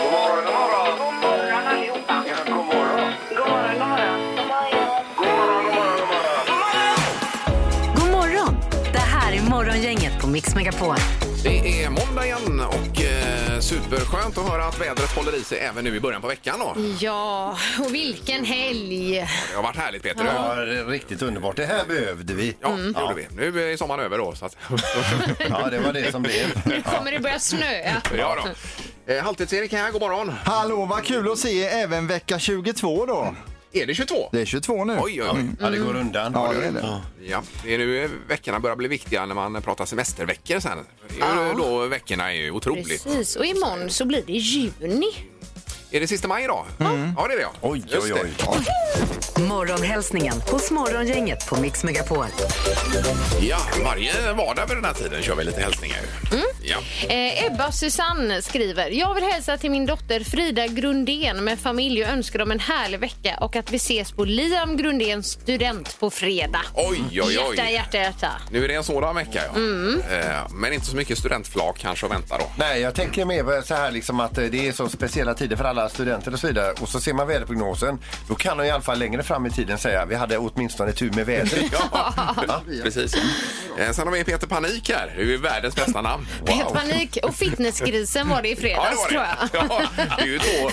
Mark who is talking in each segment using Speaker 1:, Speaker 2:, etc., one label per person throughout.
Speaker 1: God morgon, god morgon.
Speaker 2: God morgon allihopa.
Speaker 1: Ja, god morgon.
Speaker 2: God morgon, god morgon.
Speaker 1: God morgon, god morgon, god morgon.
Speaker 3: God morgon! Det här är Morgongänget på Mix Megapol.
Speaker 4: Det är måndag igen och eh, superskönt att höra att vädret håller i sig även nu i början på veckan. Då.
Speaker 5: Ja, och vilken helg!
Speaker 4: Det har varit härligt Peter.
Speaker 6: Ja, Mm.
Speaker 4: Ja.
Speaker 6: det är riktigt underbart. Det här behövde vi.
Speaker 4: Ja, det gjorde vi. Nu är sommaren över då. Så att...
Speaker 6: Ja, det var det som blev.
Speaker 5: Nu kommer det börja snöa.
Speaker 4: ja, då. Eh, Halvtids-Erik här, god morgon.
Speaker 7: Hallå, vad kul att se även vecka 22 då.
Speaker 4: Är det 22?
Speaker 7: Det är 22 nu.
Speaker 4: Oj, oj, oj.
Speaker 6: Ja, det går undan.
Speaker 7: Ja, det är det.
Speaker 4: Ja, det är nu eh, veckorna börjar bli viktiga när man pratar semesterveckor sen. Det är ju Då veckorna är ju otroligt.
Speaker 5: Precis, och imorgon så blir det juni.
Speaker 4: Är det sista maj idag? Ja, det är det. ja.
Speaker 6: Mm. Oj,
Speaker 4: Just
Speaker 6: oj,
Speaker 4: det.
Speaker 6: oj.
Speaker 3: Morgonhälsningen hos Morgongänget på Mix Megapol.
Speaker 4: Ja, varje vardag vid den här tiden kör vi lite hälsningar.
Speaker 6: Mm.
Speaker 4: ju. Ja.
Speaker 5: Eh, Ebba och Susanne skriver. Jag vill hälsa till min dotter Frida Grundén med familj och önskar dem en härlig vecka och att vi ses på Liam Grundéns student på fredag.
Speaker 4: Oj, oj, oj.
Speaker 5: Hjärta, hjärta, hjärta.
Speaker 4: Nu är det en sådan vecka, ja. Eh, Men inte så mycket studentflak kanske att vänta då.
Speaker 6: Nej, jag tänker mer på så här liksom att eh, det är så speciella tider för alla studenter och så vidare. Och så ser man väderprognosen. Då kan de i alla fall längre fram i tiden säga vi hade åtminstone tur med vädret.
Speaker 4: Ja, precis. Eh, Sen har vi Peter Panik här. Det är ju världens bästa namn.
Speaker 5: Pet Panik och fitnessgrisen var det i
Speaker 4: Ja, det
Speaker 5: fredags
Speaker 4: var
Speaker 5: tror
Speaker 4: det.
Speaker 5: jag.
Speaker 4: Ja, det är ju två,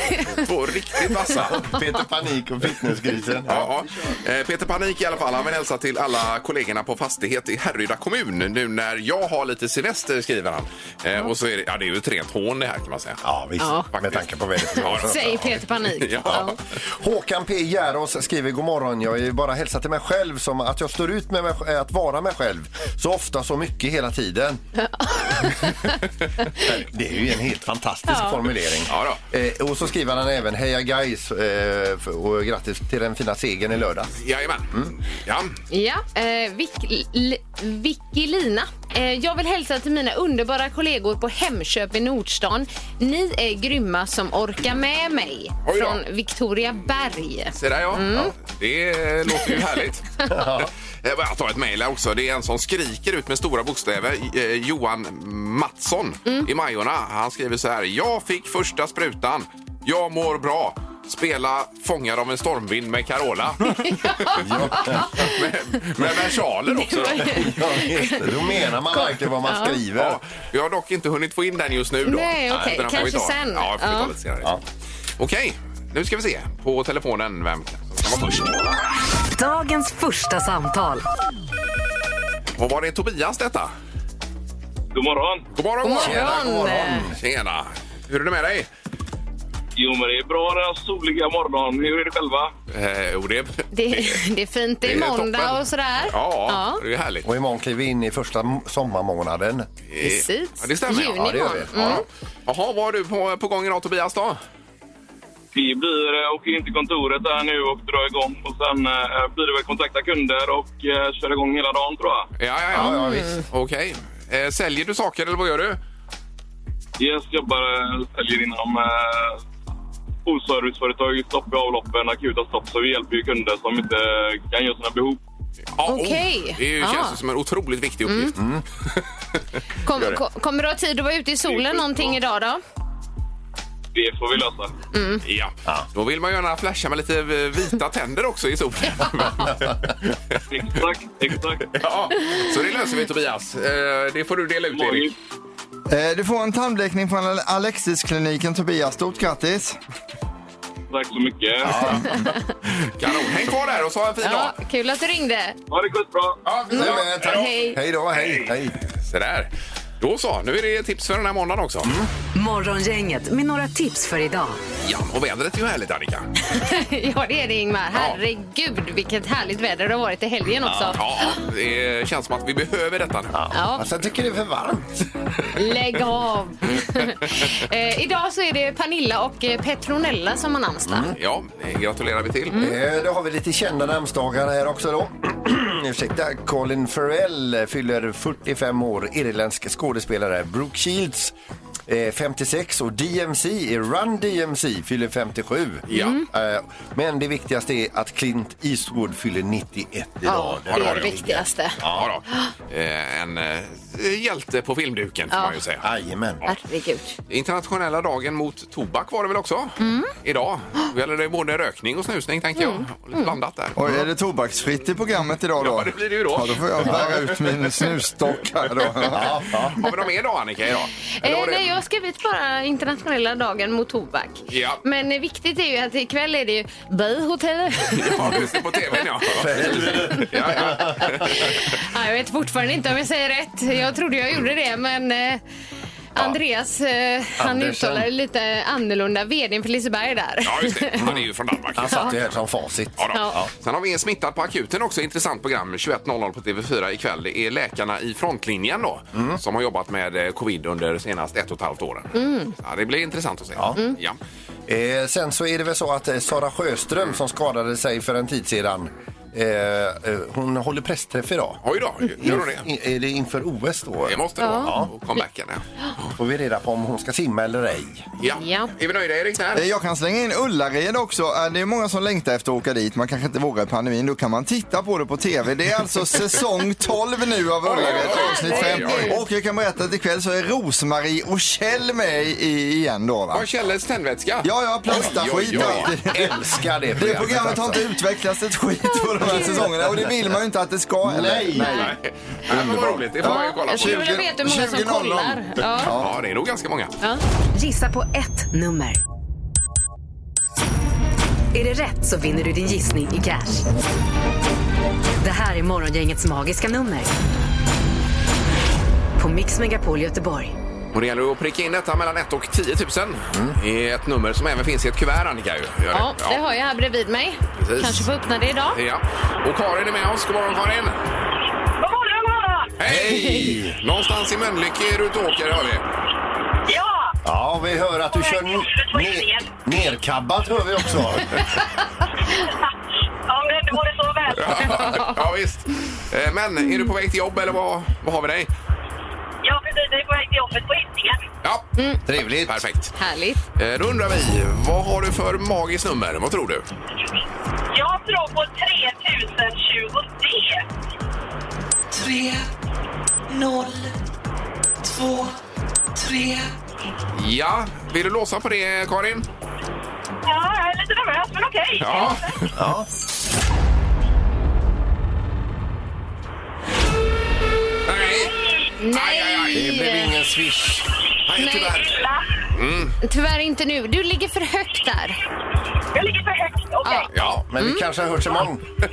Speaker 4: två riktigt vassa.
Speaker 6: Peter Panik och fitnessgrisen.
Speaker 4: Ja, ja. Eh, Peter Panik i alla fall. Han vill hälsa till alla kollegorna på fastighet i Härryda kommun nu när jag har lite semester, skriver han. Eh, Och så är det, ja, det är ju ett rent hån det här kan man säga.
Speaker 6: Ja, visst.
Speaker 5: Ja.
Speaker 6: Med tanke på
Speaker 4: Ja,
Speaker 6: vädret.
Speaker 4: då.
Speaker 5: Säg Peter Panik.
Speaker 4: Ja.
Speaker 6: Håkan P. Järås skriver god morgon. Jag vill bara hälsa till mig själv som att jag står ut med mig, eh, att vara mig själv så ofta, så mycket hela tiden. det är ju en helt fantastisk formulering.
Speaker 4: Ja då.
Speaker 6: Eh, och så skriver han även heja guys eh, f- och grattis till den fina segern i lördag.
Speaker 4: Jajamän.
Speaker 6: Mm.
Speaker 4: Ja.
Speaker 5: Ja, eh, Vic- L- Vickelina. Eh, jag vill hälsa till mina underbara kollegor på Hemköp i Nordstan. Ni är grymma som orkar med mig.
Speaker 4: Oj då.
Speaker 5: Från Victoria Berg.
Speaker 4: Se där ja.
Speaker 5: Mm.
Speaker 4: ja. Det eh, låter ju härligt. Eh, Jag tar ett mejl här också. Det är en som skriker ut med stora bokstäver. Eh, Johan Mattsson
Speaker 5: Mm.
Speaker 4: i Majorna. Han skriver så här. Jag fick första sprutan. Jag mår bra. Spela Fångad av en stormvind med Carola. med, med versaler också. då.
Speaker 6: Då menar man verkligen vad man skriver.
Speaker 4: Ja, vi har dock inte hunnit få in den just nu. Då.
Speaker 5: Nej, okej.
Speaker 4: utan den får vi
Speaker 5: Kanske
Speaker 4: ta.
Speaker 5: sen.
Speaker 4: Ja, får vi ta
Speaker 5: Ja.
Speaker 4: lite senare.
Speaker 6: Ja.
Speaker 4: Okej, nu ska vi se på telefonen vem som var först.
Speaker 3: Dagens första samtal.
Speaker 4: Och var det Tobias detta?
Speaker 8: God morgon.
Speaker 4: God morgon! God
Speaker 5: morgon.
Speaker 4: God morgon. Tjena! Hur är det med dig?
Speaker 8: Jo, men det är bra den här soliga morgonen. Hur är det själva?
Speaker 4: Eh, jo, det,
Speaker 5: Det, det är fint. Det
Speaker 4: Det
Speaker 5: är
Speaker 4: är toppen.
Speaker 5: måndag och sådär.
Speaker 4: ja, det är härligt.
Speaker 6: Och imorgon kliver vi in i första m- sommarmånaden.
Speaker 4: Eh,
Speaker 5: precis.
Speaker 4: Ja, det stämmer.
Speaker 5: Juni Mm.
Speaker 4: ja, det gör
Speaker 5: morgon.
Speaker 4: vi. Ja. Jaha, vad har du på, på gång idag Tobias då?
Speaker 8: Vi blir, eh, åker in till kontoret här nu och drar igång. Och sen eh, blir det väl kontakta kunder och eh, köra igång hela dagen, tror jag.
Speaker 4: Ja, ja, ja.
Speaker 5: Mm.
Speaker 4: Okej. Eh, säljer du saker eller vad gör du?
Speaker 8: Yes, jobbar, eh, säljer inom eh, oserviceföretag, stopp i avloppen, akuta stopp. Så vi hjälper ju kunder som inte kan göra sina behov.
Speaker 4: Ja,
Speaker 5: Okej. Ah. Mm.
Speaker 4: oh, det är ju- känns
Speaker 5: Ja.
Speaker 4: ju som en otroligt viktig uppgift.
Speaker 5: Kom,
Speaker 4: Gör det.
Speaker 5: ko- kommer du ha tid att vara ute i solen någonting idag då?
Speaker 8: Det får vi lösa.
Speaker 4: Ja. Då vill man gärna flasha med lite eh, vita tänder också i solen.
Speaker 8: Exakt, exakt.
Speaker 4: ja, så det löser vi Tobias. Eh, det får du dela ut Erik.
Speaker 8: Magiskt.
Speaker 7: Eh, Du får en tandblekning från Ale- Alexiskliniken Tobias. Stort grattis!
Speaker 8: Tack så mycket.
Speaker 4: Kanon. Häng kvar där och så ha en fin dag.
Speaker 5: Ja, kul att du ringde.
Speaker 8: Ha det gott bra.
Speaker 4: Ja, vi ses.
Speaker 6: Men, tack.
Speaker 5: Hej.
Speaker 6: Hej då, hej. hej.
Speaker 4: Så där. Då så, nu är det tips för den här måndagen också.
Speaker 5: Mm.
Speaker 3: Morgongänget med några tips för idag.
Speaker 4: Ja, och vädret är ju härligt Annika.
Speaker 5: Ja, det är det Ingmar. Herregud, vilket härligt väder det har varit i helgen också.
Speaker 4: Ja, det känns som att vi behöver detta nu.
Speaker 5: Ja.
Speaker 6: Alltså, jag tycker det är för varmt.
Speaker 5: Lägg av! eh, idag så är det Pernilla och eh, Petronella som har namnsdag.
Speaker 4: Ja, det gratulerar vi till.
Speaker 5: Mm.
Speaker 6: Eh, Då har vi lite kända namnsdagar här också då. Ursäkta, Colin Farrell fyller 45 år, irländsk skådespelare. Brooke Shields eh, 56 och DMC, är eh, Run DMC, fyller 57.
Speaker 4: Ja. Mm.
Speaker 6: Eh, Men det viktigaste är att Clint Eastwood fyller 91 idag.
Speaker 5: Ja, det är det
Speaker 4: det.
Speaker 5: viktigaste.
Speaker 4: Ja, då. Eh, En eh, hjälte på filmduken får
Speaker 5: Ja.
Speaker 4: man ju säga.
Speaker 6: Jajamän.
Speaker 5: Herregud.
Speaker 4: Internationella dagen mot tobak var det väl också?
Speaker 5: Mm.
Speaker 4: Idag. Då gäller det både rökning och snusning tänkte jag. Och
Speaker 5: Mm.
Speaker 4: Lite blandat där.
Speaker 7: Och är det tobaksfritt i programmet idag då?
Speaker 4: Ja, det blir det ju då.
Speaker 7: Ja, då får jag bära ut min snusstock här då.
Speaker 4: Har vi någon mer dag Annika idag? Eller
Speaker 5: Eh,
Speaker 4: var det-
Speaker 5: nej, jag har skrivit bara internationella dagen mot tobak.
Speaker 4: Ja.
Speaker 5: Men eh, viktigt är ju att ikväll är det ju Bayhotel.
Speaker 4: Ja, just det, på tvn ja. ja, ja.
Speaker 5: ja, jag vet fortfarande inte om jag säger rätt. Jag trodde jag gjorde det, men eh, Andreas, eh, han
Speaker 6: Andersen.
Speaker 5: uttalar det lite annorlunda. Vdn för Liseberg där.
Speaker 4: ja, just det. Han är ju från Danmark.
Speaker 6: Han satt ju här som facit.
Speaker 4: Ja, då.
Speaker 5: Ja.
Speaker 4: Sen har vi en smittad på akuten också. Intressant program. 21.00 på TV4 ikväll. Det är läkarna i frontlinjen då, som har jobbat med eh, covid under senast ett och ett halvt åren.
Speaker 5: Mm.
Speaker 4: Ja, det blir intressant att se. Ja. Ja.
Speaker 6: Eh, sen så är det väl så att eh, Sara Sjöström som skadade sig för en tid sedan, eh, eh, hon håller pressträff idag.
Speaker 4: Oj då, gör hon det?
Speaker 6: I, är det inför OS då?
Speaker 4: Det måste det vara. Mm. Ja. Och comebacken. Ja.
Speaker 6: Får vi reda på om hon ska simma eller ej.
Speaker 4: Ja.
Speaker 5: Ja.
Speaker 4: Är vi nöjda Erik?
Speaker 7: Eh,
Speaker 4: Där?
Speaker 7: Jag kan slänga in Ullared också. Eh, Det är många som längtar efter att åka dit. Man kanske inte vågar i pandemin. Då kan man titta på det på TV. Det är alltså säsong 12 nu av Ullared,
Speaker 4: Oj, oj,
Speaker 7: avsnitt
Speaker 4: oj,
Speaker 7: 5.
Speaker 4: oj,
Speaker 7: Och jag kan berätta att ikväll så är Rosmarie och Kjell med i, igen då va?
Speaker 4: Var Kjelles tändvätska?
Speaker 7: Ja, ja,
Speaker 4: Oj,
Speaker 7: plastskit
Speaker 4: oj,
Speaker 7: och
Speaker 4: oj.
Speaker 7: allt. det-
Speaker 6: Älskar det alltså.
Speaker 7: Det programmet har inte utvecklats ett skit på de här säsongerna och det vill man ju inte att det ska heller.
Speaker 6: Nej.
Speaker 4: Nej, Nej, men vad roligt. Det får man ju kolla
Speaker 5: jag skulle
Speaker 4: på.
Speaker 5: vilja veta hur många som
Speaker 7: 20.00.
Speaker 5: kollar. Ja.
Speaker 4: Ja, det är nog ganska många.
Speaker 3: Gissa på ett nummer. Är det rätt så vinner du din gissning i cash. Det här är Morgongängets magiska nummer. På Mix Megapol Göteborg.
Speaker 4: Och det gäller att pricka in detta mellan 1 och 10 000. Det är ett nummer som även finns i ett kuvert, Annika. Ju. Gör
Speaker 5: Ja, det har jag här bredvid mig.
Speaker 4: Precis.
Speaker 5: Kanske får öppna det idag.
Speaker 4: Ja. Och Karin är med oss. God morgon, Karin!
Speaker 2: God morgon, god morgon!
Speaker 4: Hej! Någonstans i Mölnlycke är du ute och åker, hör vi.
Speaker 2: Ja!
Speaker 6: Ja, vi hör att du kör ner, nerkabbat hör vi också.
Speaker 2: Om det inte vore så väl.
Speaker 4: ja, visst. Eh, Men är du på väg till jobb, eller vad, vad har vi dig?
Speaker 2: Ja, precis. Vi är på väg till jobbet på Hisingen.
Speaker 4: Ja,
Speaker 6: Trevligt.
Speaker 4: perfekt.
Speaker 5: Härligt.
Speaker 4: Eh, Då undrar vi, vad har du för magiskt nummer? Vad tror du?
Speaker 2: Jag tror på 3020D.
Speaker 4: Ja, vill du låsa på det, Karin?
Speaker 2: Ja, jag är lite nervös, men okej.
Speaker 4: Ja.
Speaker 6: Ja.
Speaker 4: Nej! Aj, aj, aj.
Speaker 6: Det blev
Speaker 5: Nej,
Speaker 6: ingen swish.
Speaker 4: Nej, tyvärr.
Speaker 2: Illa.
Speaker 5: tyvärr inte nu. Du ligger för högt där.
Speaker 2: Jag ligger för högt. Okej.
Speaker 5: Ja.
Speaker 4: Ja,
Speaker 6: Men
Speaker 5: Mm.
Speaker 6: vi kanske hörs imorgon.
Speaker 2: Det-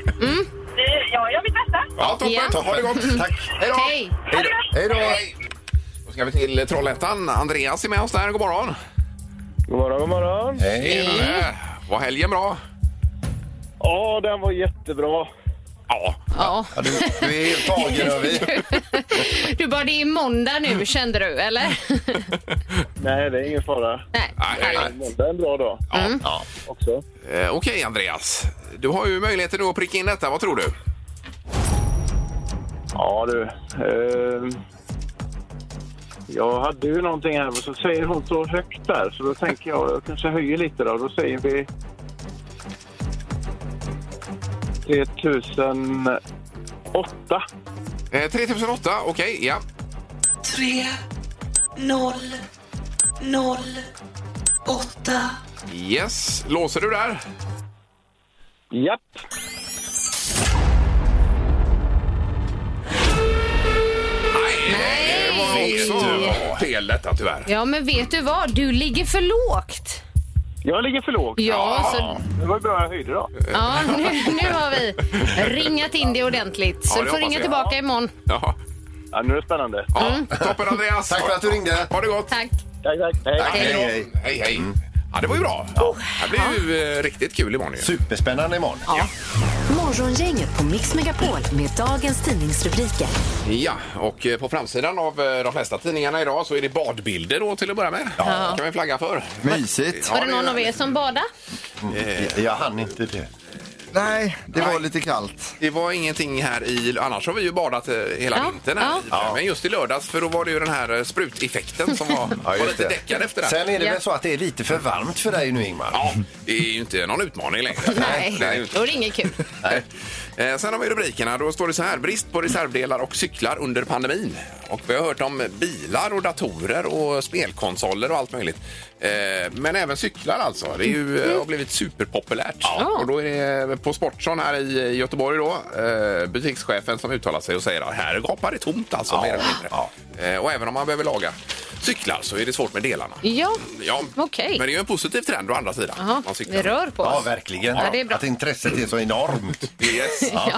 Speaker 2: Ja, jag gör mitt bästa.
Speaker 4: ja toppen.
Speaker 5: Ja.
Speaker 4: Ha det gott.
Speaker 6: Tack.
Speaker 4: Hej då.
Speaker 5: Mm. Hej!
Speaker 6: Hej då. Hej då.
Speaker 4: Hej. Då ska vi till Trollhättan. Andreas är med oss där. God morgon.
Speaker 9: God morgon, god morgon.
Speaker 6: Hej.
Speaker 4: Tjenare. Var helgen bra?
Speaker 9: Ja, den var jättebra.
Speaker 4: Ja.
Speaker 5: Ja.
Speaker 6: Ja, du, du är helt tagen hör vi.
Speaker 5: Du bara, det är måndag nu kände du, eller?
Speaker 9: Nej, det är ingen fara.
Speaker 5: Nej.
Speaker 4: Nej, nej.
Speaker 9: Måndag är en bra dag
Speaker 6: Ja.
Speaker 9: också.
Speaker 4: Eh, Okej, Andreas. Du har ju möjligheten att pricka in detta. Vad tror du?
Speaker 9: Ja, du. Ehm, jag hade ju någonting här, men så säger hon så högt där. Så då tänker jag, jag kanske höjer lite då. Då säger vi... 3008.
Speaker 4: Eh, 3008. Okej, ja. Yes. Låser du där?
Speaker 9: Japp.
Speaker 4: Nej, det var också fel detta tyvärr.
Speaker 5: Ja, men vet du vad? Du ligger för lågt.
Speaker 9: Jag ligger för lågt.
Speaker 5: Ja, så,
Speaker 9: Det var ju bra jag höjde då.
Speaker 5: ja nu, nu har vi ringat in det ordentligt.
Speaker 4: Ja,
Speaker 5: Så
Speaker 4: det
Speaker 5: du får
Speaker 4: hoppas
Speaker 5: ringa
Speaker 4: jag.
Speaker 5: tillbaka imorgon.
Speaker 4: Ja.
Speaker 9: Ja, nu är det spännande.
Speaker 4: Ja, Toppen, Andreas.
Speaker 6: Tack för att du ringde.
Speaker 4: Ha det gott.
Speaker 5: Tack.
Speaker 9: Tack, tack.
Speaker 6: Tack,
Speaker 4: Hej,
Speaker 6: hej,
Speaker 4: då.
Speaker 6: hej.
Speaker 4: hej. hej. Oh. Ja, det var ju bra. Det blir ju eh, riktigt kul imorgon. Ju.
Speaker 6: Superspännande imorgon.
Speaker 3: Morgongänget på Mix Megapol med dagens tidningsrubriker.
Speaker 4: Ja, och eh, på framsidan av eh, de flesta tidningarna idag så är det badbilder då till att börja med. Ja. kan vi flagga för.
Speaker 7: Mysigt.
Speaker 4: Ja,
Speaker 5: Var det
Speaker 4: är
Speaker 5: någon av er som badade?
Speaker 6: Jag hann inte det.
Speaker 7: Nej, det var
Speaker 4: Nej.
Speaker 7: lite kallt.
Speaker 4: Det var ingenting här i... Annars har vi ju badat eh, hela
Speaker 5: Ja,
Speaker 4: vintern. Här
Speaker 5: ja.
Speaker 4: i- Men just i lördags, för då var det ju den här eh, spruteffekten som var, var
Speaker 6: just
Speaker 4: lite
Speaker 6: det.
Speaker 4: däckad efter det.
Speaker 6: Sen är det
Speaker 5: Ja.
Speaker 6: väl så att det är lite för varmt för dig nu, Ingmar?
Speaker 4: Ja, det är ju inte någon utmaning längre.
Speaker 5: Nej,
Speaker 4: Det är ju inte.
Speaker 5: då är det inget kul.
Speaker 4: Nej. Eh, Sen har vi rubrikerna. Då står det så här. Brist på reservdelar och cyklar under pandemin. Och vi har hört om bilar och datorer och spelkonsoler och allt möjligt. Eh, Men även cyklar alltså. Det är ju, eh, har blivit superpopulärt. Och då är det på Sportson här i Göteborg då, eh, butikschefen som uttalar sig och säger att här gapar det tomt alltså. Mer eller mindre. Eh, Och även om man behöver laga cyklar så är det svårt med delarna.
Speaker 5: Ja,
Speaker 4: Ja,
Speaker 5: Okej.
Speaker 4: men det är ju en positiv trend å andra sidan.
Speaker 5: Jaha,
Speaker 4: Man cyklar.
Speaker 5: det rör på
Speaker 6: Ja,
Speaker 5: oss.
Speaker 6: verkligen.
Speaker 5: Ja, det är bra.
Speaker 6: Att intresset är så enormt.
Speaker 4: Yes.
Speaker 5: Ja.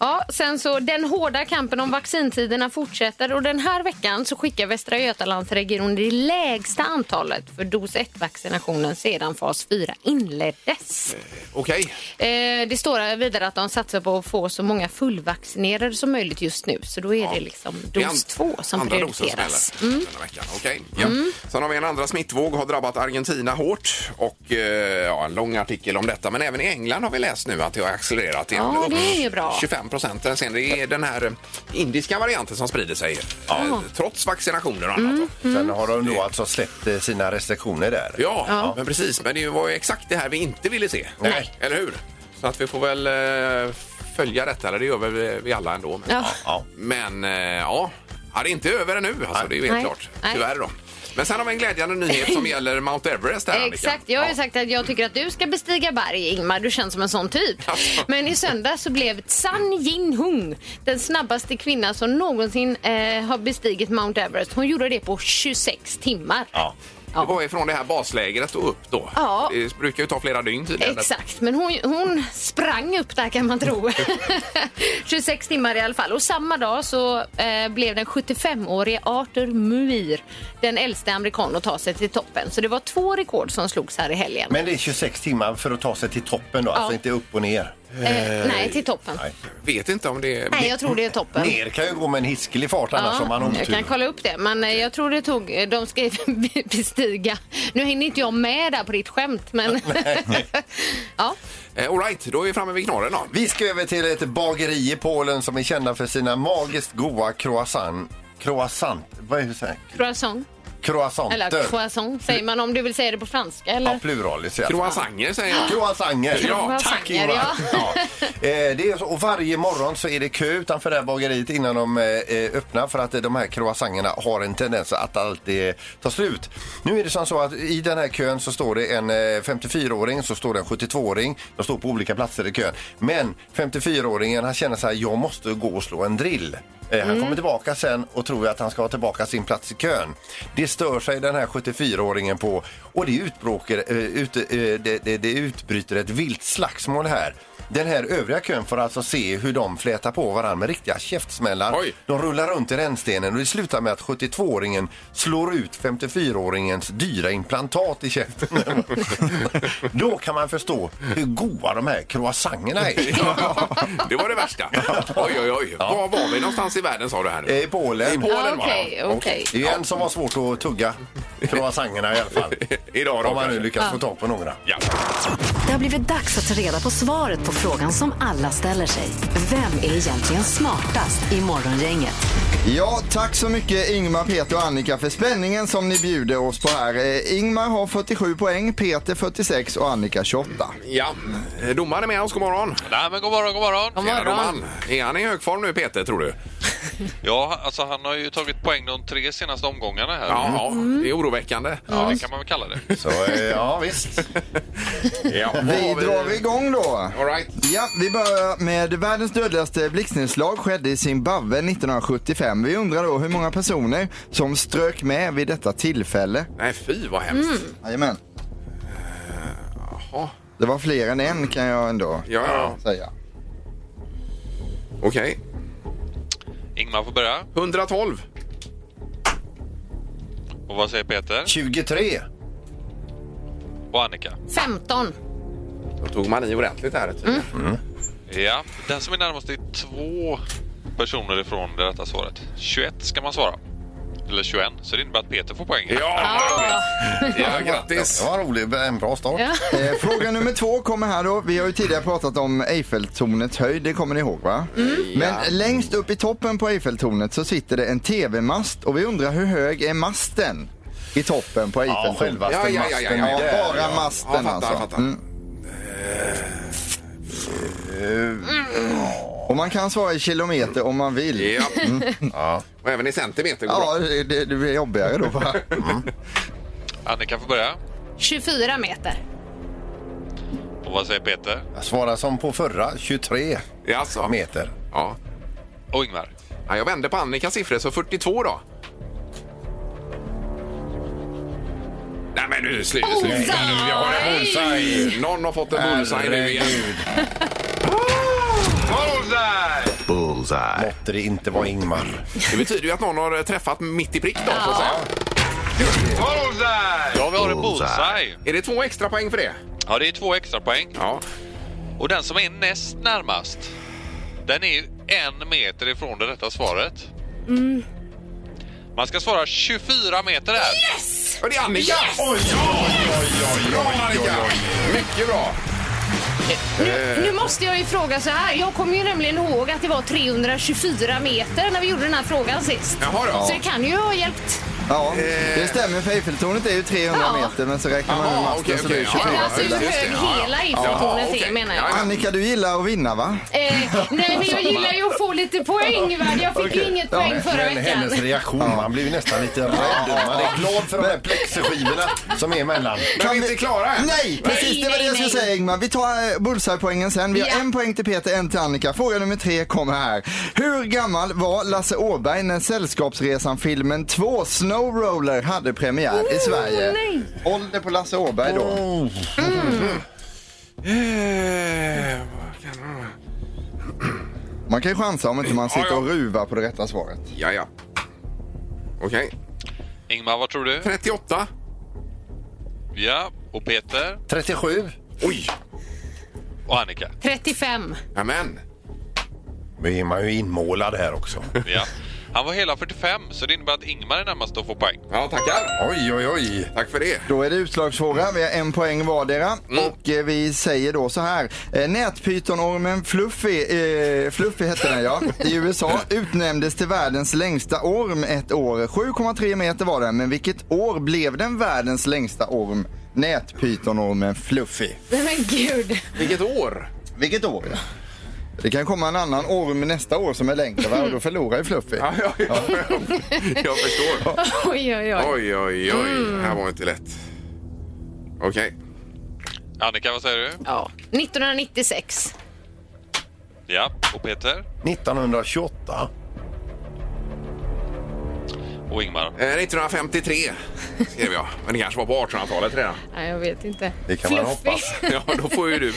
Speaker 5: Ja, sen så den hårda kampen om vaccintiderna fortsätter och den här veckan så skickar Västra Götalandsregionen det lägsta antalet för dos 1-vaccinationen sedan fas 4 inleddes.
Speaker 4: Okej.
Speaker 5: Eh, det står här vidare att de satsar på att få så många fullvaccinerade som möjligt just nu så då är det liksom
Speaker 4: Det är an-
Speaker 5: dos 2 som
Speaker 4: andra dosen
Speaker 5: prioriteras. Mm.
Speaker 4: som gäller denna veckan. Okej. Ja. Sen har vi en andra smittvåg har drabbat Argentina hårt och eh, ja, en lång artikel om detta. Men även i England har vi läst nu att det har accelererat. till
Speaker 5: Ja,
Speaker 4: upp
Speaker 5: det är ju bra.
Speaker 4: 25 procent. Sen det är den här eh, indiska varianten som sprider sig eh, trots vaccinationer och annat.
Speaker 5: Mm.
Speaker 4: då.
Speaker 6: Sen har de då alltså släppt eh, sina restriktioner där.
Speaker 4: Ja, men precis. Men det var ju exakt det här vi inte ville se.
Speaker 6: Nej.
Speaker 4: Eller hur? Så att vi får väl eh, följa detta, eller det gör väl vi- vi alla ändå. Men,
Speaker 5: Ja.
Speaker 6: Ja.
Speaker 4: Men eh, ja, Ja, det är inte över ännu. Alltså, det är ju helt
Speaker 5: Nej.
Speaker 4: klart.
Speaker 5: Nej.
Speaker 4: Tyvärr då. Men sen har vi en glädjande nyhet som gäller Mount Everest. Här, Annika.
Speaker 5: Exakt. Jag har ju
Speaker 4: Ja.
Speaker 5: sagt att jag tycker att du ska bestiga berg, Ingmar. Du känns som en sån typ.
Speaker 4: Alltså.
Speaker 5: Men i söndag så blev San Jin-Hung den snabbaste kvinnan som någonsin eh, har bestigit Mount Everest. Hon gjorde det på 26 timmar.
Speaker 6: Ja.
Speaker 5: Ja.
Speaker 4: Det var ifrån det här baslägret och upp då.
Speaker 5: Ja.
Speaker 4: Det brukar ju ta flera dygn tydligen.
Speaker 5: Exakt, men hon, hon sprang upp där kan man tro. 26 timmar i alla fall. Och samma dag så eh, blev den 75-årige Arthur Muir den äldste amerikan att ta sig till toppen. Så det var två rekord som slogs här i helgen.
Speaker 6: Men det är 26 timmar för att ta sig till toppen då, alltså inte upp och ner.
Speaker 5: eh, nej, till toppen.
Speaker 6: Nej.
Speaker 4: Vet inte om det...
Speaker 5: Nej, jag tror det är toppen.
Speaker 6: Ner kan ju gå med en hiskelig fart annars om man har
Speaker 5: jag kan
Speaker 6: otur.
Speaker 5: kolla upp det. Men eh, jag tror det tog... eh, De ska bestiga... Nu hinner inte jag med där på ditt skämt, men... ja,
Speaker 4: Eh, All right, då är vi framme vid knorren då.
Speaker 6: Vi ska över till ett bageri i Polen som är kända för sina magiskt goda croissant. Croissant? Vad är det? så här?
Speaker 5: croissant.
Speaker 6: Croissanter?
Speaker 5: Eller croissant säger man om du vill säga det på franska,
Speaker 6: Ja,
Speaker 5: eller?
Speaker 6: plural. det ser jag.
Speaker 4: Croissanger säger jag.
Speaker 6: Croissanter.
Speaker 4: Ja,
Speaker 5: tack, Ingvar. ja.
Speaker 6: Ja. Eh, det är så, och varje morgon så är det kö utanför det här bageriet innan de eh, eh, öppnar för att eh, de här croissangerna har en tendens att alltid eh, ta slut. Nu är det som så att i den här kön så står det en eh, 54-åring, så står det en 72-åring. De står på olika platser i kön. Men 54-åringen han känner så här, jag måste gå och slå en drill. Eh, Han kommer tillbaka sen och tror att han ska ha tillbaka sin plats i kön. Det stör sig den här 74-åringen på och det, utbråker, eh, ut, eh, det, det, det utbryter ett vilt slagsmål här. Den här övriga kön får alltså se hur de flätar på varandra med riktiga käftsmällar.
Speaker 4: Oj.
Speaker 6: De rullar runt i rännstenen och det slutar med att 72-åringen slår ut 54-åringens dyra implantat i käften. Då kan man förstå hur goda de här croissangerna är.
Speaker 4: Det var det värsta. Oj, oj, oj. Var var vi någonstans i världen sa du här nu?
Speaker 6: Eh, I Polen.
Speaker 4: I Polen va?
Speaker 5: Ah, Okej, okej.
Speaker 6: Det är ju en som var svårt att tugga croissangerna i alla fall.
Speaker 4: Idag då
Speaker 6: Om man nu
Speaker 4: kanske.
Speaker 5: Ah.
Speaker 6: lyckas få tag på några.
Speaker 4: Ja.
Speaker 3: Det har blivit dags att ta reda på svaret på frågan som alla ställer sig. Vem är egentligen smartast i Morgongänget?
Speaker 7: Ja, tack så mycket Ingmar, Peter och Annika för spänningen som ni bjuder oss på här. Eh, Ingmar har 47 poäng, Peter 46 och Annika 28.
Speaker 4: ja. Eh, Domaren är med oss. God morgon.
Speaker 10: Nej men god morgon, god morgon.
Speaker 5: God
Speaker 4: Tjena,
Speaker 5: morgon.
Speaker 4: domaren. Är han i högform nu Peter tror du?
Speaker 10: Ja, alltså han har ju tagit poäng de tre senaste omgångarna här.
Speaker 4: Ja, ja, det är oroväckande.
Speaker 5: Mm.
Speaker 10: Ja, det kan man väl kalla det.
Speaker 6: Så eh, ja, visst.
Speaker 4: Ja.
Speaker 7: Vi drar igång då.
Speaker 4: All right.
Speaker 7: Ja, vi börjar med världens dödligaste blixtnedslag skedde i Zimbabwe 1975. Vi undrar då hur många personer som strök med vid detta tillfälle.
Speaker 4: Nej, fy vad hemskt.
Speaker 7: Jajamän.
Speaker 4: Jaha.
Speaker 7: Det var fler än en kan jag ändå
Speaker 4: Ja, ja.
Speaker 7: säga.
Speaker 4: Okej.
Speaker 10: Ingmar får börja.
Speaker 4: 112.
Speaker 10: Och vad säger Peter?
Speaker 6: 23.
Speaker 10: Och Annika?
Speaker 5: 15.
Speaker 4: Då tog man i ordentligt här. tydligen.
Speaker 10: Ja, den som är närmast är två personer ifrån det rätta svaret. 21 ska man svara. Eller 21, så det innebär att Peter får poäng.
Speaker 4: Ja, vad roligt. Ja, grattis!
Speaker 6: Ja, rolig. En bra start.
Speaker 5: Ja.
Speaker 7: Eh, Fråga nummer två kommer här då. Vi har ju tidigare pratat om Eiffeltornets höjd, det kommer ni ihåg va? Men längst upp i toppen på Eiffeltornet så sitter det en TV-mast och vi undrar hur hög är masten i toppen
Speaker 6: Ja,
Speaker 7: på Eiffeltornet?
Speaker 6: självaste
Speaker 4: Ja, ja, ja, ja,
Speaker 6: masten.
Speaker 7: Ja,
Speaker 6: där,
Speaker 7: bara
Speaker 6: ja.
Speaker 7: masten
Speaker 4: Ja, fattar,
Speaker 7: alltså.
Speaker 4: fattar.
Speaker 7: Och man kan svara i kilometer om man vill.
Speaker 4: Ja. Mm. Och även i centimeter går
Speaker 7: Ja,
Speaker 4: bra.
Speaker 7: det, det det blir jobbigare då va?
Speaker 4: Mm.
Speaker 10: Annika får börja.
Speaker 5: 24 meter.
Speaker 10: Och vad säger Peter?
Speaker 6: Jag svarar som på förra, 23
Speaker 4: Jaså?
Speaker 6: meter.
Speaker 4: Ja.
Speaker 10: Och Ingmar?
Speaker 4: Ja, jag vände på Annikas siffror, så 42 då. Nej men nu, slu- sluta nu! Jag har en bullseye! Någon har fått en bullseye nu igen. Bullseye!
Speaker 11: Bullseye.
Speaker 6: Måtte det inte vara Ingmar.
Speaker 4: Det betyder ju att någon har träffat mitt i prick då, så att säga. Bullseye!
Speaker 10: Ja, vi har en
Speaker 11: Bullseye.
Speaker 10: bullseye.
Speaker 4: Är det två extra poäng för det?
Speaker 10: Ja, det är två extra poäng.
Speaker 4: Ja.
Speaker 10: Och den som är näst närmast, den är ju en meter ifrån det rätta svaret. Man ska svara 24 meter här.
Speaker 4: Och det är Annika! Yes! Oj, oj, oj, oj, Bra Annika! Mycket bra!
Speaker 5: Nu, nu måste jag ju fråga så här. Jag kommer ju nämligen ihåg att det var 324 meter när vi gjorde den här frågan sist.
Speaker 4: Jaha då.
Speaker 5: Så det kan ju ha hjälpt.
Speaker 7: Ja, det stämmer för Eiffeltornet är ju 300
Speaker 5: Ja.
Speaker 7: meter men så räknar man
Speaker 4: Jaha,
Speaker 7: med masten
Speaker 4: okej,
Speaker 7: så
Speaker 4: okej.
Speaker 7: det är
Speaker 4: Ja,
Speaker 7: 24.
Speaker 5: Eller alltså hur
Speaker 4: just det.
Speaker 5: hög
Speaker 4: Ja, ja.
Speaker 5: hela
Speaker 4: Ja,
Speaker 5: Eiffeltornet
Speaker 4: okej.
Speaker 5: är menar jag.
Speaker 4: Ja, ja.
Speaker 7: Annika, du gillar att vinna va?
Speaker 5: Eh, nej, men jag gillar ju att få lite poäng. Va? Jag fick
Speaker 7: Okej.
Speaker 5: inget
Speaker 7: Ja,
Speaker 5: poäng förra
Speaker 6: Men hennes
Speaker 5: veckan.
Speaker 6: reaktion, man blir ju nästan lite rädd. Man är glad för de här plexiskivorna som är emellan.
Speaker 4: Men vi är inte klara än.
Speaker 7: Nej, precis det var
Speaker 5: nej,
Speaker 7: det jag skulle
Speaker 5: nej.
Speaker 7: säga Ingmar. Vi tar eh, bullseye-poängen sen. Vi har
Speaker 5: Ja.
Speaker 7: en poäng till Peter, en till Annika. Fråga nummer tre kommer här. Hur gammal var Lasse Åberg när Sällskapsresan-filmen 2 Snow Roller hade premiär i Sverige?
Speaker 5: Oh, nej. Oh.
Speaker 7: Ålder på Lasse Åberg då?
Speaker 4: Eh, vad kan det vara?
Speaker 7: Man kan ju chansa om inte man
Speaker 4: Ja,
Speaker 7: sitter
Speaker 4: ja.
Speaker 7: och ruvar på det rätta svaret.
Speaker 4: Ja, ja. Okej.
Speaker 10: Ingmar, vad tror du?
Speaker 4: 38.
Speaker 10: Ja, och Peter
Speaker 6: 37.
Speaker 4: Oj!
Speaker 10: och Annika.
Speaker 5: 35.
Speaker 4: Amen.
Speaker 6: Nu är man ju inmålad här också.
Speaker 10: Ja. Han var hela 45, så det innebär att Ingmar är närmast och får poäng.
Speaker 4: Ja, tackar.
Speaker 6: Oj, oj, oj.
Speaker 4: Tack för det.
Speaker 7: Då är det utslagsfråga. Vi har en poäng vardera. Och eh, vi säger då så här. Eh, Nätpytonormen Fluffy, eh, Fluffy hette den ja, i USA utnämndes till världens längsta orm ett år. 7,3 meter var den, men vilket år blev den världens längsta orm? Nätpytonormen Fluffy.
Speaker 5: Nej men gud.
Speaker 4: Vilket år?
Speaker 7: Vilket år? Det kan komma en annan orm nästa år som är längre va? och då förlorar ju Fluffy.
Speaker 4: Ja, ja, ja. Jag förstår.
Speaker 5: Oj, oj, oj.
Speaker 4: Oj, oj, oj.
Speaker 5: Mm.
Speaker 4: Det här var inte lätt. Okej.
Speaker 10: Annika, vad säger du?
Speaker 5: Ja. 1996.
Speaker 10: Ja, och Peter
Speaker 6: 1928.
Speaker 10: och Ingmar.
Speaker 4: Eh, 1953 skrev jag. Men det kanske var på 1800-talet redan.
Speaker 5: Nej, jag vet inte.
Speaker 6: Det kan man hoppas.
Speaker 4: Ja, då får ju du...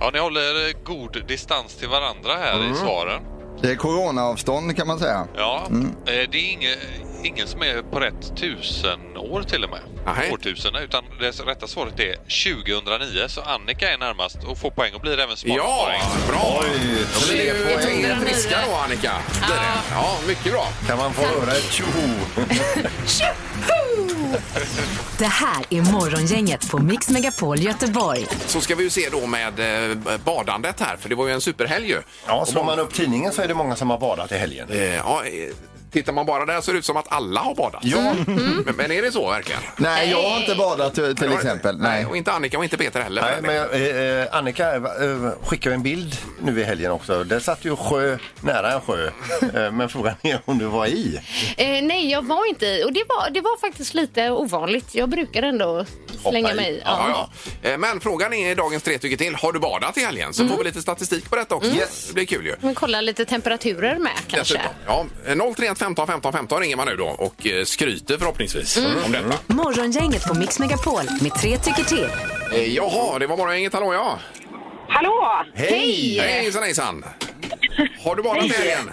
Speaker 10: Ja, ni håller eh, god distans till varandra här
Speaker 9: Mm.
Speaker 10: i svaren.
Speaker 7: Det är coronaavstånd kan man säga.
Speaker 10: Ja,
Speaker 4: Mm.
Speaker 10: eh, det är inge, ingen som är på rätt tusen år till och med.
Speaker 4: Nej.
Speaker 10: Årtusende, utan det rätta svaret är 2009. Så Annika är närmast och får poäng och blir även smartast.
Speaker 4: Ja, bra! Då blir det
Speaker 5: Sju,
Speaker 4: poäng
Speaker 5: hundra
Speaker 4: friska
Speaker 5: nio.
Speaker 4: då, Annika. Blir det. Ja, mycket bra.
Speaker 6: Kan man få höra ett tjoho?
Speaker 3: Det här är Morgongänget på Mix Megapol Göteborg.
Speaker 4: Så ska vi ju se då med eh, badandet här, för det var ju en superhelg ju.
Speaker 6: Ja, slår man upp tidningen så är det många som har badat i helgen.
Speaker 4: Eh, ja, eh, tittar man bara där så ser det ut som att alla har badat. Ja. Men, men är det så verkligen?
Speaker 7: Nej, jag har inte badat eh, till till exempel. Nej.
Speaker 4: Och inte Annika och inte Peter heller.
Speaker 6: Nej, men jag- eh, eh, Annika eh, skickade en bild nu i helgen också. Där satt ju sjö nära en sjö. Eh, Men frågan är om du var i.
Speaker 5: Eh, nej, jag var inte i. Och det var, det var faktiskt lite ovanligt. Jag brukar ändå slänga
Speaker 6: i.
Speaker 5: mig i.
Speaker 4: Ja, ja. Eh, Men frågan är i dagens tre tycker till. Har du badat i helgen? Så får vi lite statistik på detta också. Det blir kul ju.
Speaker 5: Men kolla lite temperaturer med kanske.
Speaker 4: Dessutom. Ja, eh, 031 15 15 15 ringer man nu då och eh, skryter förhoppningsvis om detta.
Speaker 3: Morgongänget på Mix Megapol med tre tycker till.
Speaker 4: Eh, Jaha, det var bara inget hallå ja.
Speaker 2: Hallå!
Speaker 4: Hej! Hejsan hejsan! Har du badat i helgen?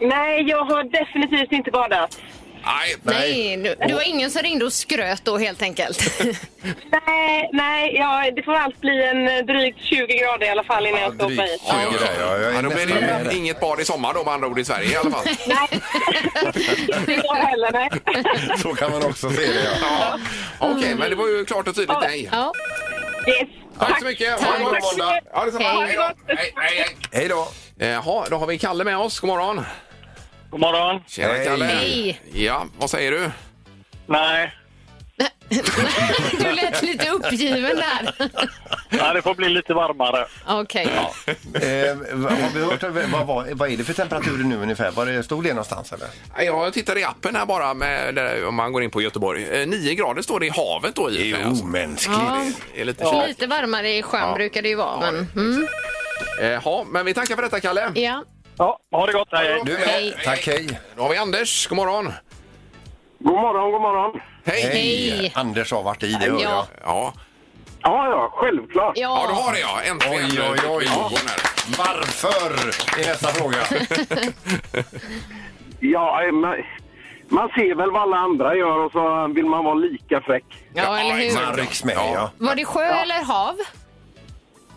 Speaker 2: Nej, jag har definitivt inte badat.
Speaker 4: Nej,
Speaker 5: Nej, nu, det var ingen som ringde och skröt då helt enkelt.
Speaker 2: Nej, nej ja, det får allt bli en eh, drygt 20 grader i alla fall innan jag ska
Speaker 6: Drygt
Speaker 2: åka hit.
Speaker 6: 20 grejer. Ja, jag
Speaker 4: Ja,
Speaker 6: är
Speaker 4: då blir
Speaker 6: nästan med
Speaker 4: det ju
Speaker 6: dig.
Speaker 4: inget bad i sommar då med andra ord i Sverige i alla fall.
Speaker 2: Nej, inte jag heller. Nej.
Speaker 6: Så kan man också se det. Ja.
Speaker 4: Ja. Okej, men det var ju klart och tydligt nej.
Speaker 5: Ja.
Speaker 2: Yes.
Speaker 4: Tack så mycket. Ha en bra måndag. Ja, detsamma.
Speaker 5: Hej.
Speaker 4: Hej då. Hej, hej,
Speaker 6: Hej då!
Speaker 4: hej. Jaha, då har vi Kalle med oss. God morgon.
Speaker 9: God morgon.
Speaker 4: Tjena
Speaker 6: Hej.
Speaker 4: Kalle.
Speaker 5: Hej.
Speaker 4: Ja, vad säger du?
Speaker 9: Nej,
Speaker 5: Du lät lite uppgiven där.
Speaker 9: ja, det får bli lite varmare.
Speaker 5: Okej.
Speaker 6: Eh, vad- har vi hört, vad, vad, vad är det för temperaturer nu ungefär? Var det, stod det någonstans eller?
Speaker 4: Ja, Jag tittar i appen här bara med, där, om man går in på Göteborg. Eh, 9 grader står det i havet då i och för sig, alltså.
Speaker 6: omänskligt.
Speaker 5: Ja.
Speaker 4: Det är lite
Speaker 5: Så
Speaker 4: kyligt.
Speaker 5: lite varmare i sjön brukar det ju vara. Men, mm,
Speaker 4: Eh, Ja, men vi tackar för detta Kalle.
Speaker 5: ja.
Speaker 9: Ja, ha det gott. Hej.
Speaker 6: Du är med.
Speaker 5: Hej.
Speaker 6: Tack, hej.
Speaker 4: Då har vi Anders. God morgon.
Speaker 9: God morgon, god morgon.
Speaker 4: Hej.
Speaker 5: Hej.
Speaker 6: Anders har varit i, det hör jag.
Speaker 5: Ja.
Speaker 4: Ja.
Speaker 9: Ja, ja, självklart.
Speaker 4: ja, du
Speaker 5: ja.
Speaker 4: har det ja. Äntligen.
Speaker 6: Oj, oj, oj.
Speaker 4: Ja. Här.
Speaker 6: Varför? är nästa fråga.
Speaker 9: Ja, man, man ser väl vad alla andra gör och så vill man vara lika fräck.
Speaker 5: ja, eller hur?
Speaker 4: exakt.
Speaker 6: Marks med, ja.
Speaker 5: Var det sjö eller hav?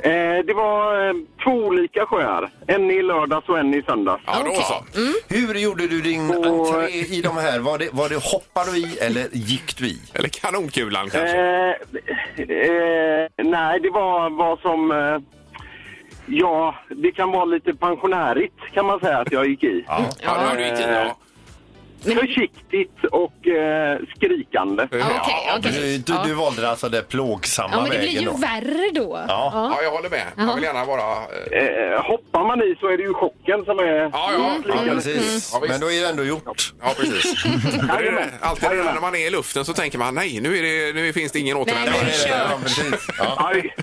Speaker 9: Eh, det var eh, två olika sjöar. En i lördags och en i söndags.
Speaker 4: Ja, då
Speaker 5: Okej.
Speaker 4: så.
Speaker 6: Hur gjorde du din
Speaker 9: Och-
Speaker 6: entré i de här? Var det, var det hoppade du i eller gick du i?
Speaker 4: Eller kanonkulan kanske.
Speaker 9: Eh, eh, nej, det var vad som... Eh, ja, det kan vara lite pensionärigt kan man säga att jag gick i.
Speaker 6: Ja.
Speaker 4: ja, det har du gick i, ja.
Speaker 9: Försiktigt och eh, skrikande.
Speaker 5: Ja, Okej,
Speaker 6: Du,
Speaker 5: okej.
Speaker 6: du, du valde alltså den plågsamma
Speaker 5: Ja, men det blir
Speaker 6: vägen
Speaker 5: ju
Speaker 6: då.
Speaker 5: värre då.
Speaker 6: Ja.
Speaker 4: Ja, jag håller med. Jag vill gärna vara... eh,
Speaker 9: Eh, hoppar man i så är det ju chocken som är... Mm.
Speaker 4: Ja, ja.
Speaker 6: Ja,
Speaker 4: ja.
Speaker 6: precis.
Speaker 4: Ja, visst.
Speaker 6: Men då är det ändå gjort.
Speaker 4: Ja, precis. Det är det. Alltid det där när man är i luften så tänker man nej, nu, är det, nu finns det ingen återvändo.
Speaker 5: Nej, men kör.
Speaker 6: Ja, precis. Ja.
Speaker 9: Aj,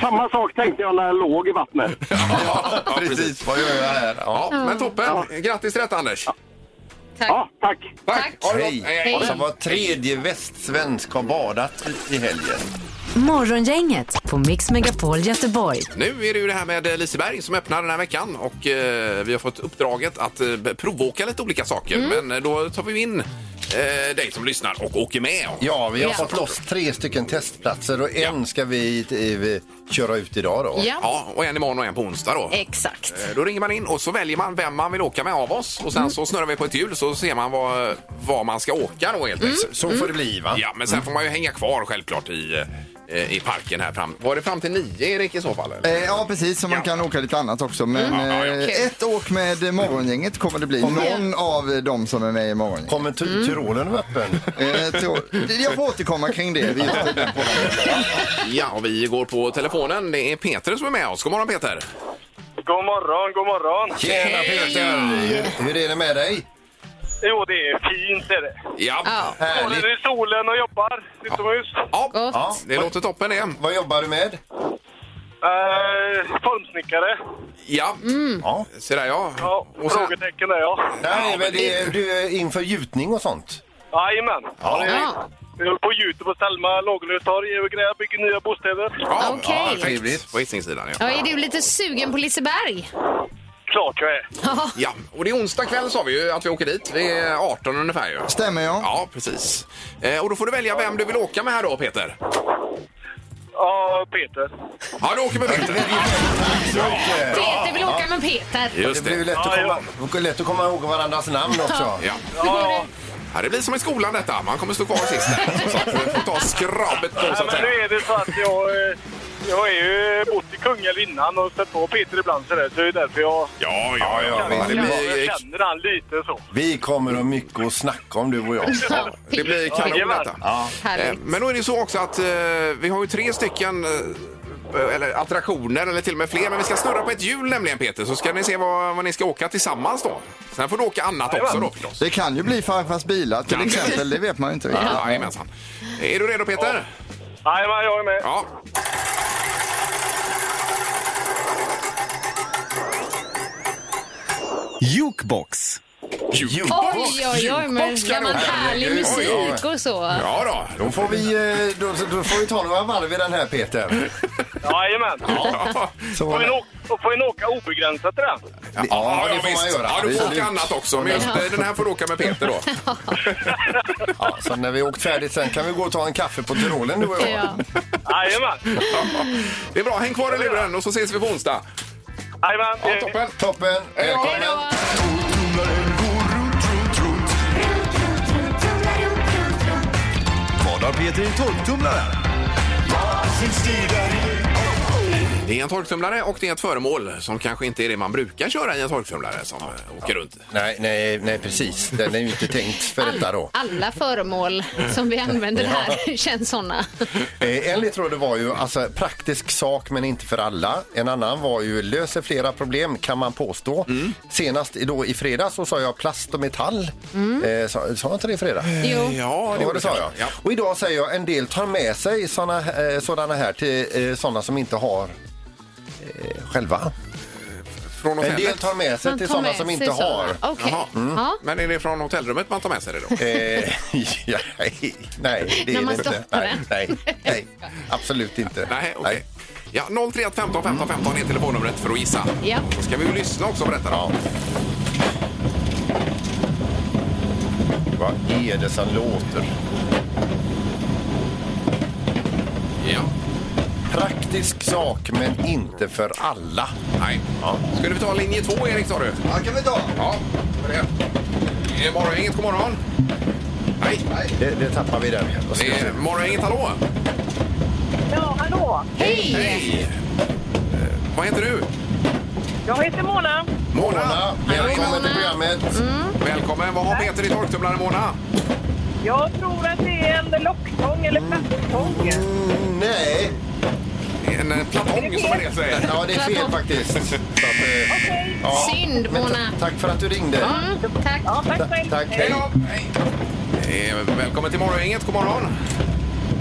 Speaker 9: samma sak tänkte jag när jag låg i vattnet.
Speaker 4: Ja, ja, precis.
Speaker 6: Precis, vad gör jag här? Ja.
Speaker 4: Ja, men toppen. Grattis till detta, Anders.
Speaker 9: Ja, tack.
Speaker 4: Tack. Ha det gott.
Speaker 6: Hej! Och så var tredje västsvensk har badat i, i helgen.
Speaker 3: Morgongänget på Mix Megapol Göteborg.
Speaker 4: Nu är det ju det här med Liseberg som öppnar den här veckan och eh, vi har fått uppdraget att eh, provåka lite olika saker.
Speaker 6: Mm.
Speaker 4: Men då tar vi in eh, dig som lyssnar och åker med.
Speaker 6: Ja, vi har
Speaker 5: Ja.
Speaker 6: fått loss tre stycken testplatser och en ska vi, eh, vi köra ut idag då.
Speaker 5: Ja,
Speaker 4: Ja, och en imorgon och en på onsdag då.
Speaker 5: exakt.
Speaker 4: Eh, Då ringer man in och så väljer man vem man vill åka med av oss och sen
Speaker 6: Mm.
Speaker 4: så snurrar vi på ett hjul så ser man vad, vad man ska åka då helt enkelt.
Speaker 6: Så får det bli va?
Speaker 4: Ja, men sen får man ju hänga kvar självklart i, eh, i parken här fram. Var det fram till nio Erik i så fall? Eller?
Speaker 7: Eh, Ja, precis. Så man kan åka lite annat också. Men
Speaker 4: Mm. Ja, ja, ja.
Speaker 7: eh,
Speaker 5: Kul.
Speaker 7: ett åk med morgongänget kommer det bli. Någon av dem som är med i morgongänget.
Speaker 6: Kommer ty-
Speaker 4: Mm.
Speaker 6: Tyrolen vara öppen?
Speaker 7: Eh, tror- Jag får återkomma kring det. Vi-
Speaker 4: Ja, och vi går på telefonen. Det är Peter som är med oss. God morgon Peter!
Speaker 8: God morgon, god morgon.
Speaker 6: Tjena Peter! Hur, hur är det med dig?
Speaker 8: Jo, det är fint är det.
Speaker 4: Ja,
Speaker 5: Ja.
Speaker 6: Härligt.
Speaker 8: i solen och jobbar utomhus.
Speaker 4: ja.
Speaker 5: Gott.
Speaker 6: Ja.
Speaker 4: det låter toppen det.
Speaker 6: Vad jobbar du med?
Speaker 8: Eh, formsnickare.
Speaker 4: Ja,
Speaker 6: Ja.
Speaker 4: se där Mm. ja.
Speaker 8: Ja,
Speaker 4: och sen,
Speaker 8: frågetecken där ja.
Speaker 6: Nej, men det, är- du är inför gjutning och sånt?
Speaker 8: Jajamän.
Speaker 6: Ja.
Speaker 5: Ja.
Speaker 8: Vi håller på och gjuter på Selma Lagerlöfstorg och grejer, bygger nya bostäder.
Speaker 4: ja,
Speaker 5: Okej.
Speaker 4: ja, perfekt.
Speaker 6: Trevligt.
Speaker 4: På Hisingssidan ja.
Speaker 5: Ja, är du lite sugen på Liseberg?
Speaker 8: Klart jag är.
Speaker 4: ja. Och det är onsdag kväll sa vi ju att vi åker dit. Vi är 18 ungefär ju.
Speaker 7: Stämmer jag?
Speaker 4: Ja, precis. Eh, och då får du välja vem du vill åka med här då Peter.
Speaker 8: Ja, Peter.
Speaker 4: Ja, du åker med Peter.
Speaker 5: Peter vill åka med Peter.
Speaker 6: Det
Speaker 4: Just
Speaker 6: blir ju
Speaker 4: det.
Speaker 6: lätt att, komma, det är lätt att komma ihåg varandras namn också.
Speaker 4: Ja.
Speaker 8: Ja,
Speaker 4: Ja, det blir som i skolan detta. Man kommer stå kvar sist. där. Så att vi får ta skrabbet på så
Speaker 8: ja.
Speaker 4: att
Speaker 8: Men nu
Speaker 4: säga.
Speaker 8: är det så att jag... eh, Jag har ju bott i Kungälv innan och stött på Peter ibland så, där, så det är därför jag
Speaker 4: Ja, ja, ja.
Speaker 6: visst.
Speaker 4: Det blir,
Speaker 8: jag känner han lite så.
Speaker 6: Vi kommer att mycket att snacka om du och jag.
Speaker 5: Ja,
Speaker 4: det blir kanon
Speaker 8: Jajamän.
Speaker 4: detta. Eh,
Speaker 5: Härligt.
Speaker 4: Men då är det så också att eh, vi har ju tre stycken eh, eller attraktioner eller till och med fler. Men vi ska snurra på ett hjul nämligen Peter så ska ni se vad, vad ni ska åka tillsammans då. Sen får du åka annat också då förstås.
Speaker 7: Det kan ju bli farfars bilar till
Speaker 4: Kan det?
Speaker 7: exempel. Det vet man ju inte riktigt.
Speaker 4: Ja, Jajamensan. Är du redo Peter?
Speaker 8: Jajamän, jag är med.
Speaker 4: Ja.
Speaker 11: Jukebox.
Speaker 5: Oj, oj, oj, men
Speaker 4: Jukebox
Speaker 5: gammal
Speaker 4: kanon.
Speaker 5: härlig
Speaker 4: Oj, oj, oj.
Speaker 5: musik och så.
Speaker 4: Ja då.
Speaker 6: Då får vi, eh, då, då får vi ta några varv i den här Peter.
Speaker 8: Jajamän.
Speaker 4: Ja.
Speaker 8: Får en åka, får en åka obegränsat till den?
Speaker 4: Ja,
Speaker 6: Ja, det
Speaker 4: ja,
Speaker 6: får man
Speaker 4: visst.
Speaker 6: göra.
Speaker 4: Ja, du får
Speaker 6: Det är
Speaker 4: åka
Speaker 6: dyrt.
Speaker 4: annat också. Men just eh, den här får du åka med Peter då.
Speaker 6: Ja, så när vi har åkt färdigt sen kan vi gå och ta en kaffe på Tyrolen du och jag.
Speaker 5: Ja.
Speaker 8: Jajamän!
Speaker 4: Det är bra. Häng kvar i luren och så ses vi på onsdag.
Speaker 8: Jajamän!
Speaker 4: Ja, toppen.
Speaker 6: Toppen!
Speaker 4: Hej då.
Speaker 6: Välkommen!
Speaker 11: Vad har Peter i torktumlaren?
Speaker 4: Det är en torktumlare och det är ett föremål som kanske inte är det man brukar köra i en torktumlare som eh, åker runt.
Speaker 6: Nej, nej, nej, precis. Den är ju inte tänkt för detta då.
Speaker 5: Alla föremål som vi använder här känns såna.
Speaker 6: Eh, En ledtråd var ju alltså, praktisk sak men inte för alla. En annan var ju löser flera problem kan man påstå. Senast i- då i fredags så sa jag plast och metall.
Speaker 5: Mm.
Speaker 6: Eh, sa, sa jag inte det i fredags?
Speaker 5: Jo.
Speaker 4: Ja,
Speaker 6: Ja, det sa jag.
Speaker 4: Ja.
Speaker 6: Och idag säger jag en del tar med sig sådana eh, sådana här till eh, sådana som inte har eh, själva.
Speaker 4: Från
Speaker 6: En del
Speaker 4: hotellet.
Speaker 6: tar med sig
Speaker 5: Man
Speaker 6: till
Speaker 5: tar Mm.
Speaker 6: sådana
Speaker 5: med
Speaker 6: som
Speaker 5: sig
Speaker 6: inte
Speaker 5: såna.
Speaker 6: har.
Speaker 5: Okej.
Speaker 4: Jaha. mm.
Speaker 5: Ja.
Speaker 4: Men är det från hotellrummet man tar med sig det då?
Speaker 6: Eh, ja, nej, nej, det
Speaker 5: När
Speaker 6: är det
Speaker 5: man
Speaker 6: inte.
Speaker 5: stoppar
Speaker 6: Nej, nej, nej, absolut inte.
Speaker 4: Nej, okej. Ja, 031 15 15 15 är telefonnumret för att gissa.
Speaker 5: Ja.
Speaker 4: Då ska vi ju lyssna också på detta då.
Speaker 6: Vad är det som låter?
Speaker 4: Ja.
Speaker 6: Praktisk sak, men inte för alla.
Speaker 4: Nej. Skulle vi ta linje två, Erik, sa du?
Speaker 7: Ja, kan vi ta.
Speaker 4: Ja, det är det. Är Morgongänget, god morgon. Nej,
Speaker 6: Det, det tappar vi där. Vad ska
Speaker 4: det
Speaker 6: jag
Speaker 4: är
Speaker 6: säga?
Speaker 4: Morgongänget, hallå.
Speaker 2: Ja, hallå!
Speaker 5: Hej!
Speaker 4: Hej. Eh, Vad heter du?
Speaker 2: Jag heter Mona.
Speaker 6: Mona, välkommen
Speaker 5: Mona.
Speaker 6: till programmet.
Speaker 4: Välkommen. Vad har Peter i torktumlaren, Mona?
Speaker 2: Jag tror att det är en locktång eller platttång.
Speaker 6: Mm, nej,
Speaker 4: En eh, platong, som en del säger.
Speaker 6: ja, det är fel faktiskt. Så att, eh, ja.
Speaker 5: Synd,
Speaker 6: Men ta-
Speaker 5: Mona.
Speaker 6: tack för att du ringde.
Speaker 5: Mm, tack.
Speaker 6: Ta- Tack,
Speaker 4: Hej
Speaker 6: hej.
Speaker 4: då. Hej. Eh, Välkommen till Morgongänget, god morgon.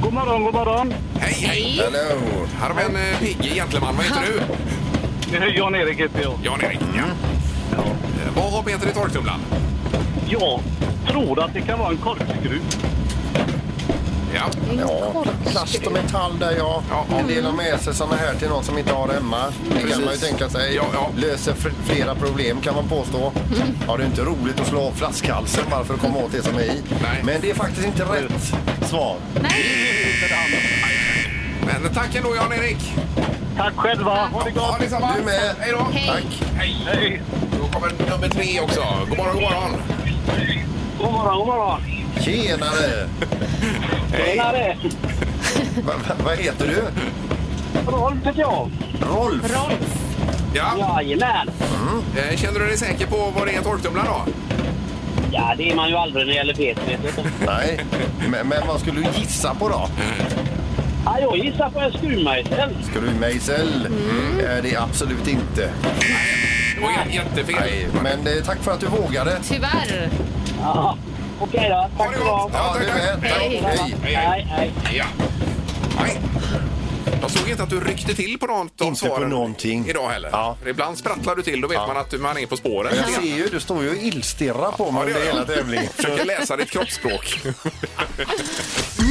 Speaker 9: God morgon, god morgon.
Speaker 4: Hej, hej.
Speaker 5: Hej.
Speaker 6: Hello.
Speaker 4: Här har vi en eh, pigg gentleman. Vad heter du?
Speaker 9: Jan-Erik heter jag.
Speaker 4: Jan-Erik.
Speaker 6: Mm.
Speaker 4: Ja. Eh, Vad har Peter i torktumlaren?
Speaker 9: Jag tror att det kan vara en korkskruv.
Speaker 4: Ja.
Speaker 6: Ja, plast och metall där ja.
Speaker 4: Ja, ja.
Speaker 6: En del har med sig såna här till någon som inte har det hemma. Det kan man ju tänka sig.
Speaker 4: Ja, Mm. ja.
Speaker 6: Löser fl- flera problem kan man påstå. Ja, det är inte roligt att slå av flaskhalsen bara för att komma åt det som är i.
Speaker 4: Nej. Mm.
Speaker 6: Men det är faktiskt inte rätt svar.
Speaker 4: Men tack ändå, Jan-Erik.
Speaker 9: Tack själva. Ha det
Speaker 4: Ja, detsamma.
Speaker 6: Du med.
Speaker 4: Hej då.
Speaker 5: Hej.
Speaker 6: Tack.
Speaker 4: Hej. Då kommer nummer tre också. God morgon, god morgon.
Speaker 9: God morgon, god morgon.
Speaker 6: Tjenare!
Speaker 9: Tjenare.
Speaker 6: Va- va- Vad heter du?
Speaker 9: Rolf heter jag.
Speaker 6: Rolf.
Speaker 4: Ja.
Speaker 9: Jajamän.
Speaker 4: Eh, Känner du dig säker på vad det är i torktumlaren då?
Speaker 9: Ja, det är man ju aldrig när det gäller Peter. vet du.
Speaker 6: Nej, men, men vad skulle du gissa på då?
Speaker 9: Ja, jag gissar på en skruvmejsel.
Speaker 6: Skulle du mejsel? Eh, Det är absolut inte.
Speaker 4: Det var jä- jättefel.
Speaker 6: Nej, men eh, tack för att du vågade.
Speaker 5: Tyvärr.
Speaker 9: Ja. Okej då.
Speaker 4: Ha
Speaker 9: Tack
Speaker 4: det
Speaker 9: ska du ha.
Speaker 4: gott.
Speaker 6: Ja, du med. Tack.
Speaker 5: Hej.
Speaker 6: Hej.
Speaker 4: Hej, hej.
Speaker 9: Hej, hej.
Speaker 4: Ja. Nej. Jag såg inte att du ryckte till på något av
Speaker 6: Inte på
Speaker 4: svaren
Speaker 6: någonting.
Speaker 4: idag heller.
Speaker 6: Ja.
Speaker 4: För ibland sprattlar du till, då vet man att du- man är på spåren.
Speaker 6: Jag ser ju, du står ju och illstirrar på mig
Speaker 4: det
Speaker 6: under
Speaker 4: gör
Speaker 6: hela
Speaker 4: jag.
Speaker 6: tävlingen.
Speaker 4: Försöker läsa ditt kroppsspråk.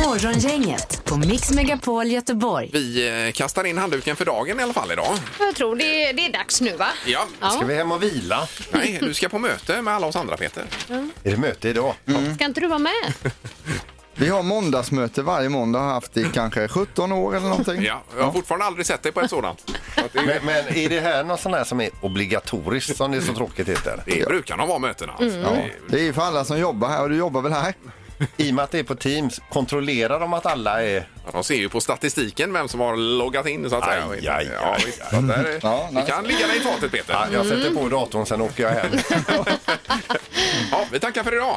Speaker 3: Morgongänget på Mix Megapol Göteborg.
Speaker 4: Vi eh, kastar in handduken för dagen i alla fall idag.
Speaker 5: Jag tror det är, det är dags nu, va?
Speaker 4: Ja.
Speaker 6: Ska vi hem och vila?
Speaker 4: Nej, du ska på möte med alla oss andra, Peter.
Speaker 6: Är det möte idag?
Speaker 4: Mm.
Speaker 5: Ska inte du vara med?
Speaker 7: Vi har måndagsmöte varje måndag, har haft i kanske 17 år eller någonting.
Speaker 4: Ja, jag har fortfarande aldrig sett dig på ett sådant. Så att det,
Speaker 6: Men, men är det här något sånt här som är obligatoriskt som det så tråkigt heter?
Speaker 4: det brukar nog vara mötena.
Speaker 7: Ja. Det är ju för alla som jobbar här och du jobbar väl här?
Speaker 6: I och med att det är på Teams, kontrollerar de att alla är...
Speaker 4: Ja, De ser ju på statistiken vem som har loggat in så att säga.
Speaker 6: Aj, aj,
Speaker 4: Ja,
Speaker 6: aj.
Speaker 4: visst. Så att där,
Speaker 7: Ja,
Speaker 4: det kan ligga dig i fatet Peter.
Speaker 6: Ja, jag sätter på datorn sen åker jag hem.
Speaker 4: Ja, vi tackar för idag.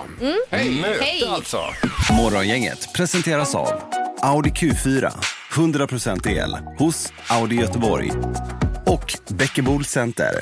Speaker 5: Hej.
Speaker 6: Möte alltså!
Speaker 11: Morgongänget presenteras av Audi Q4. 100% el hos Audi Göteborg. Och Bäckebol Center.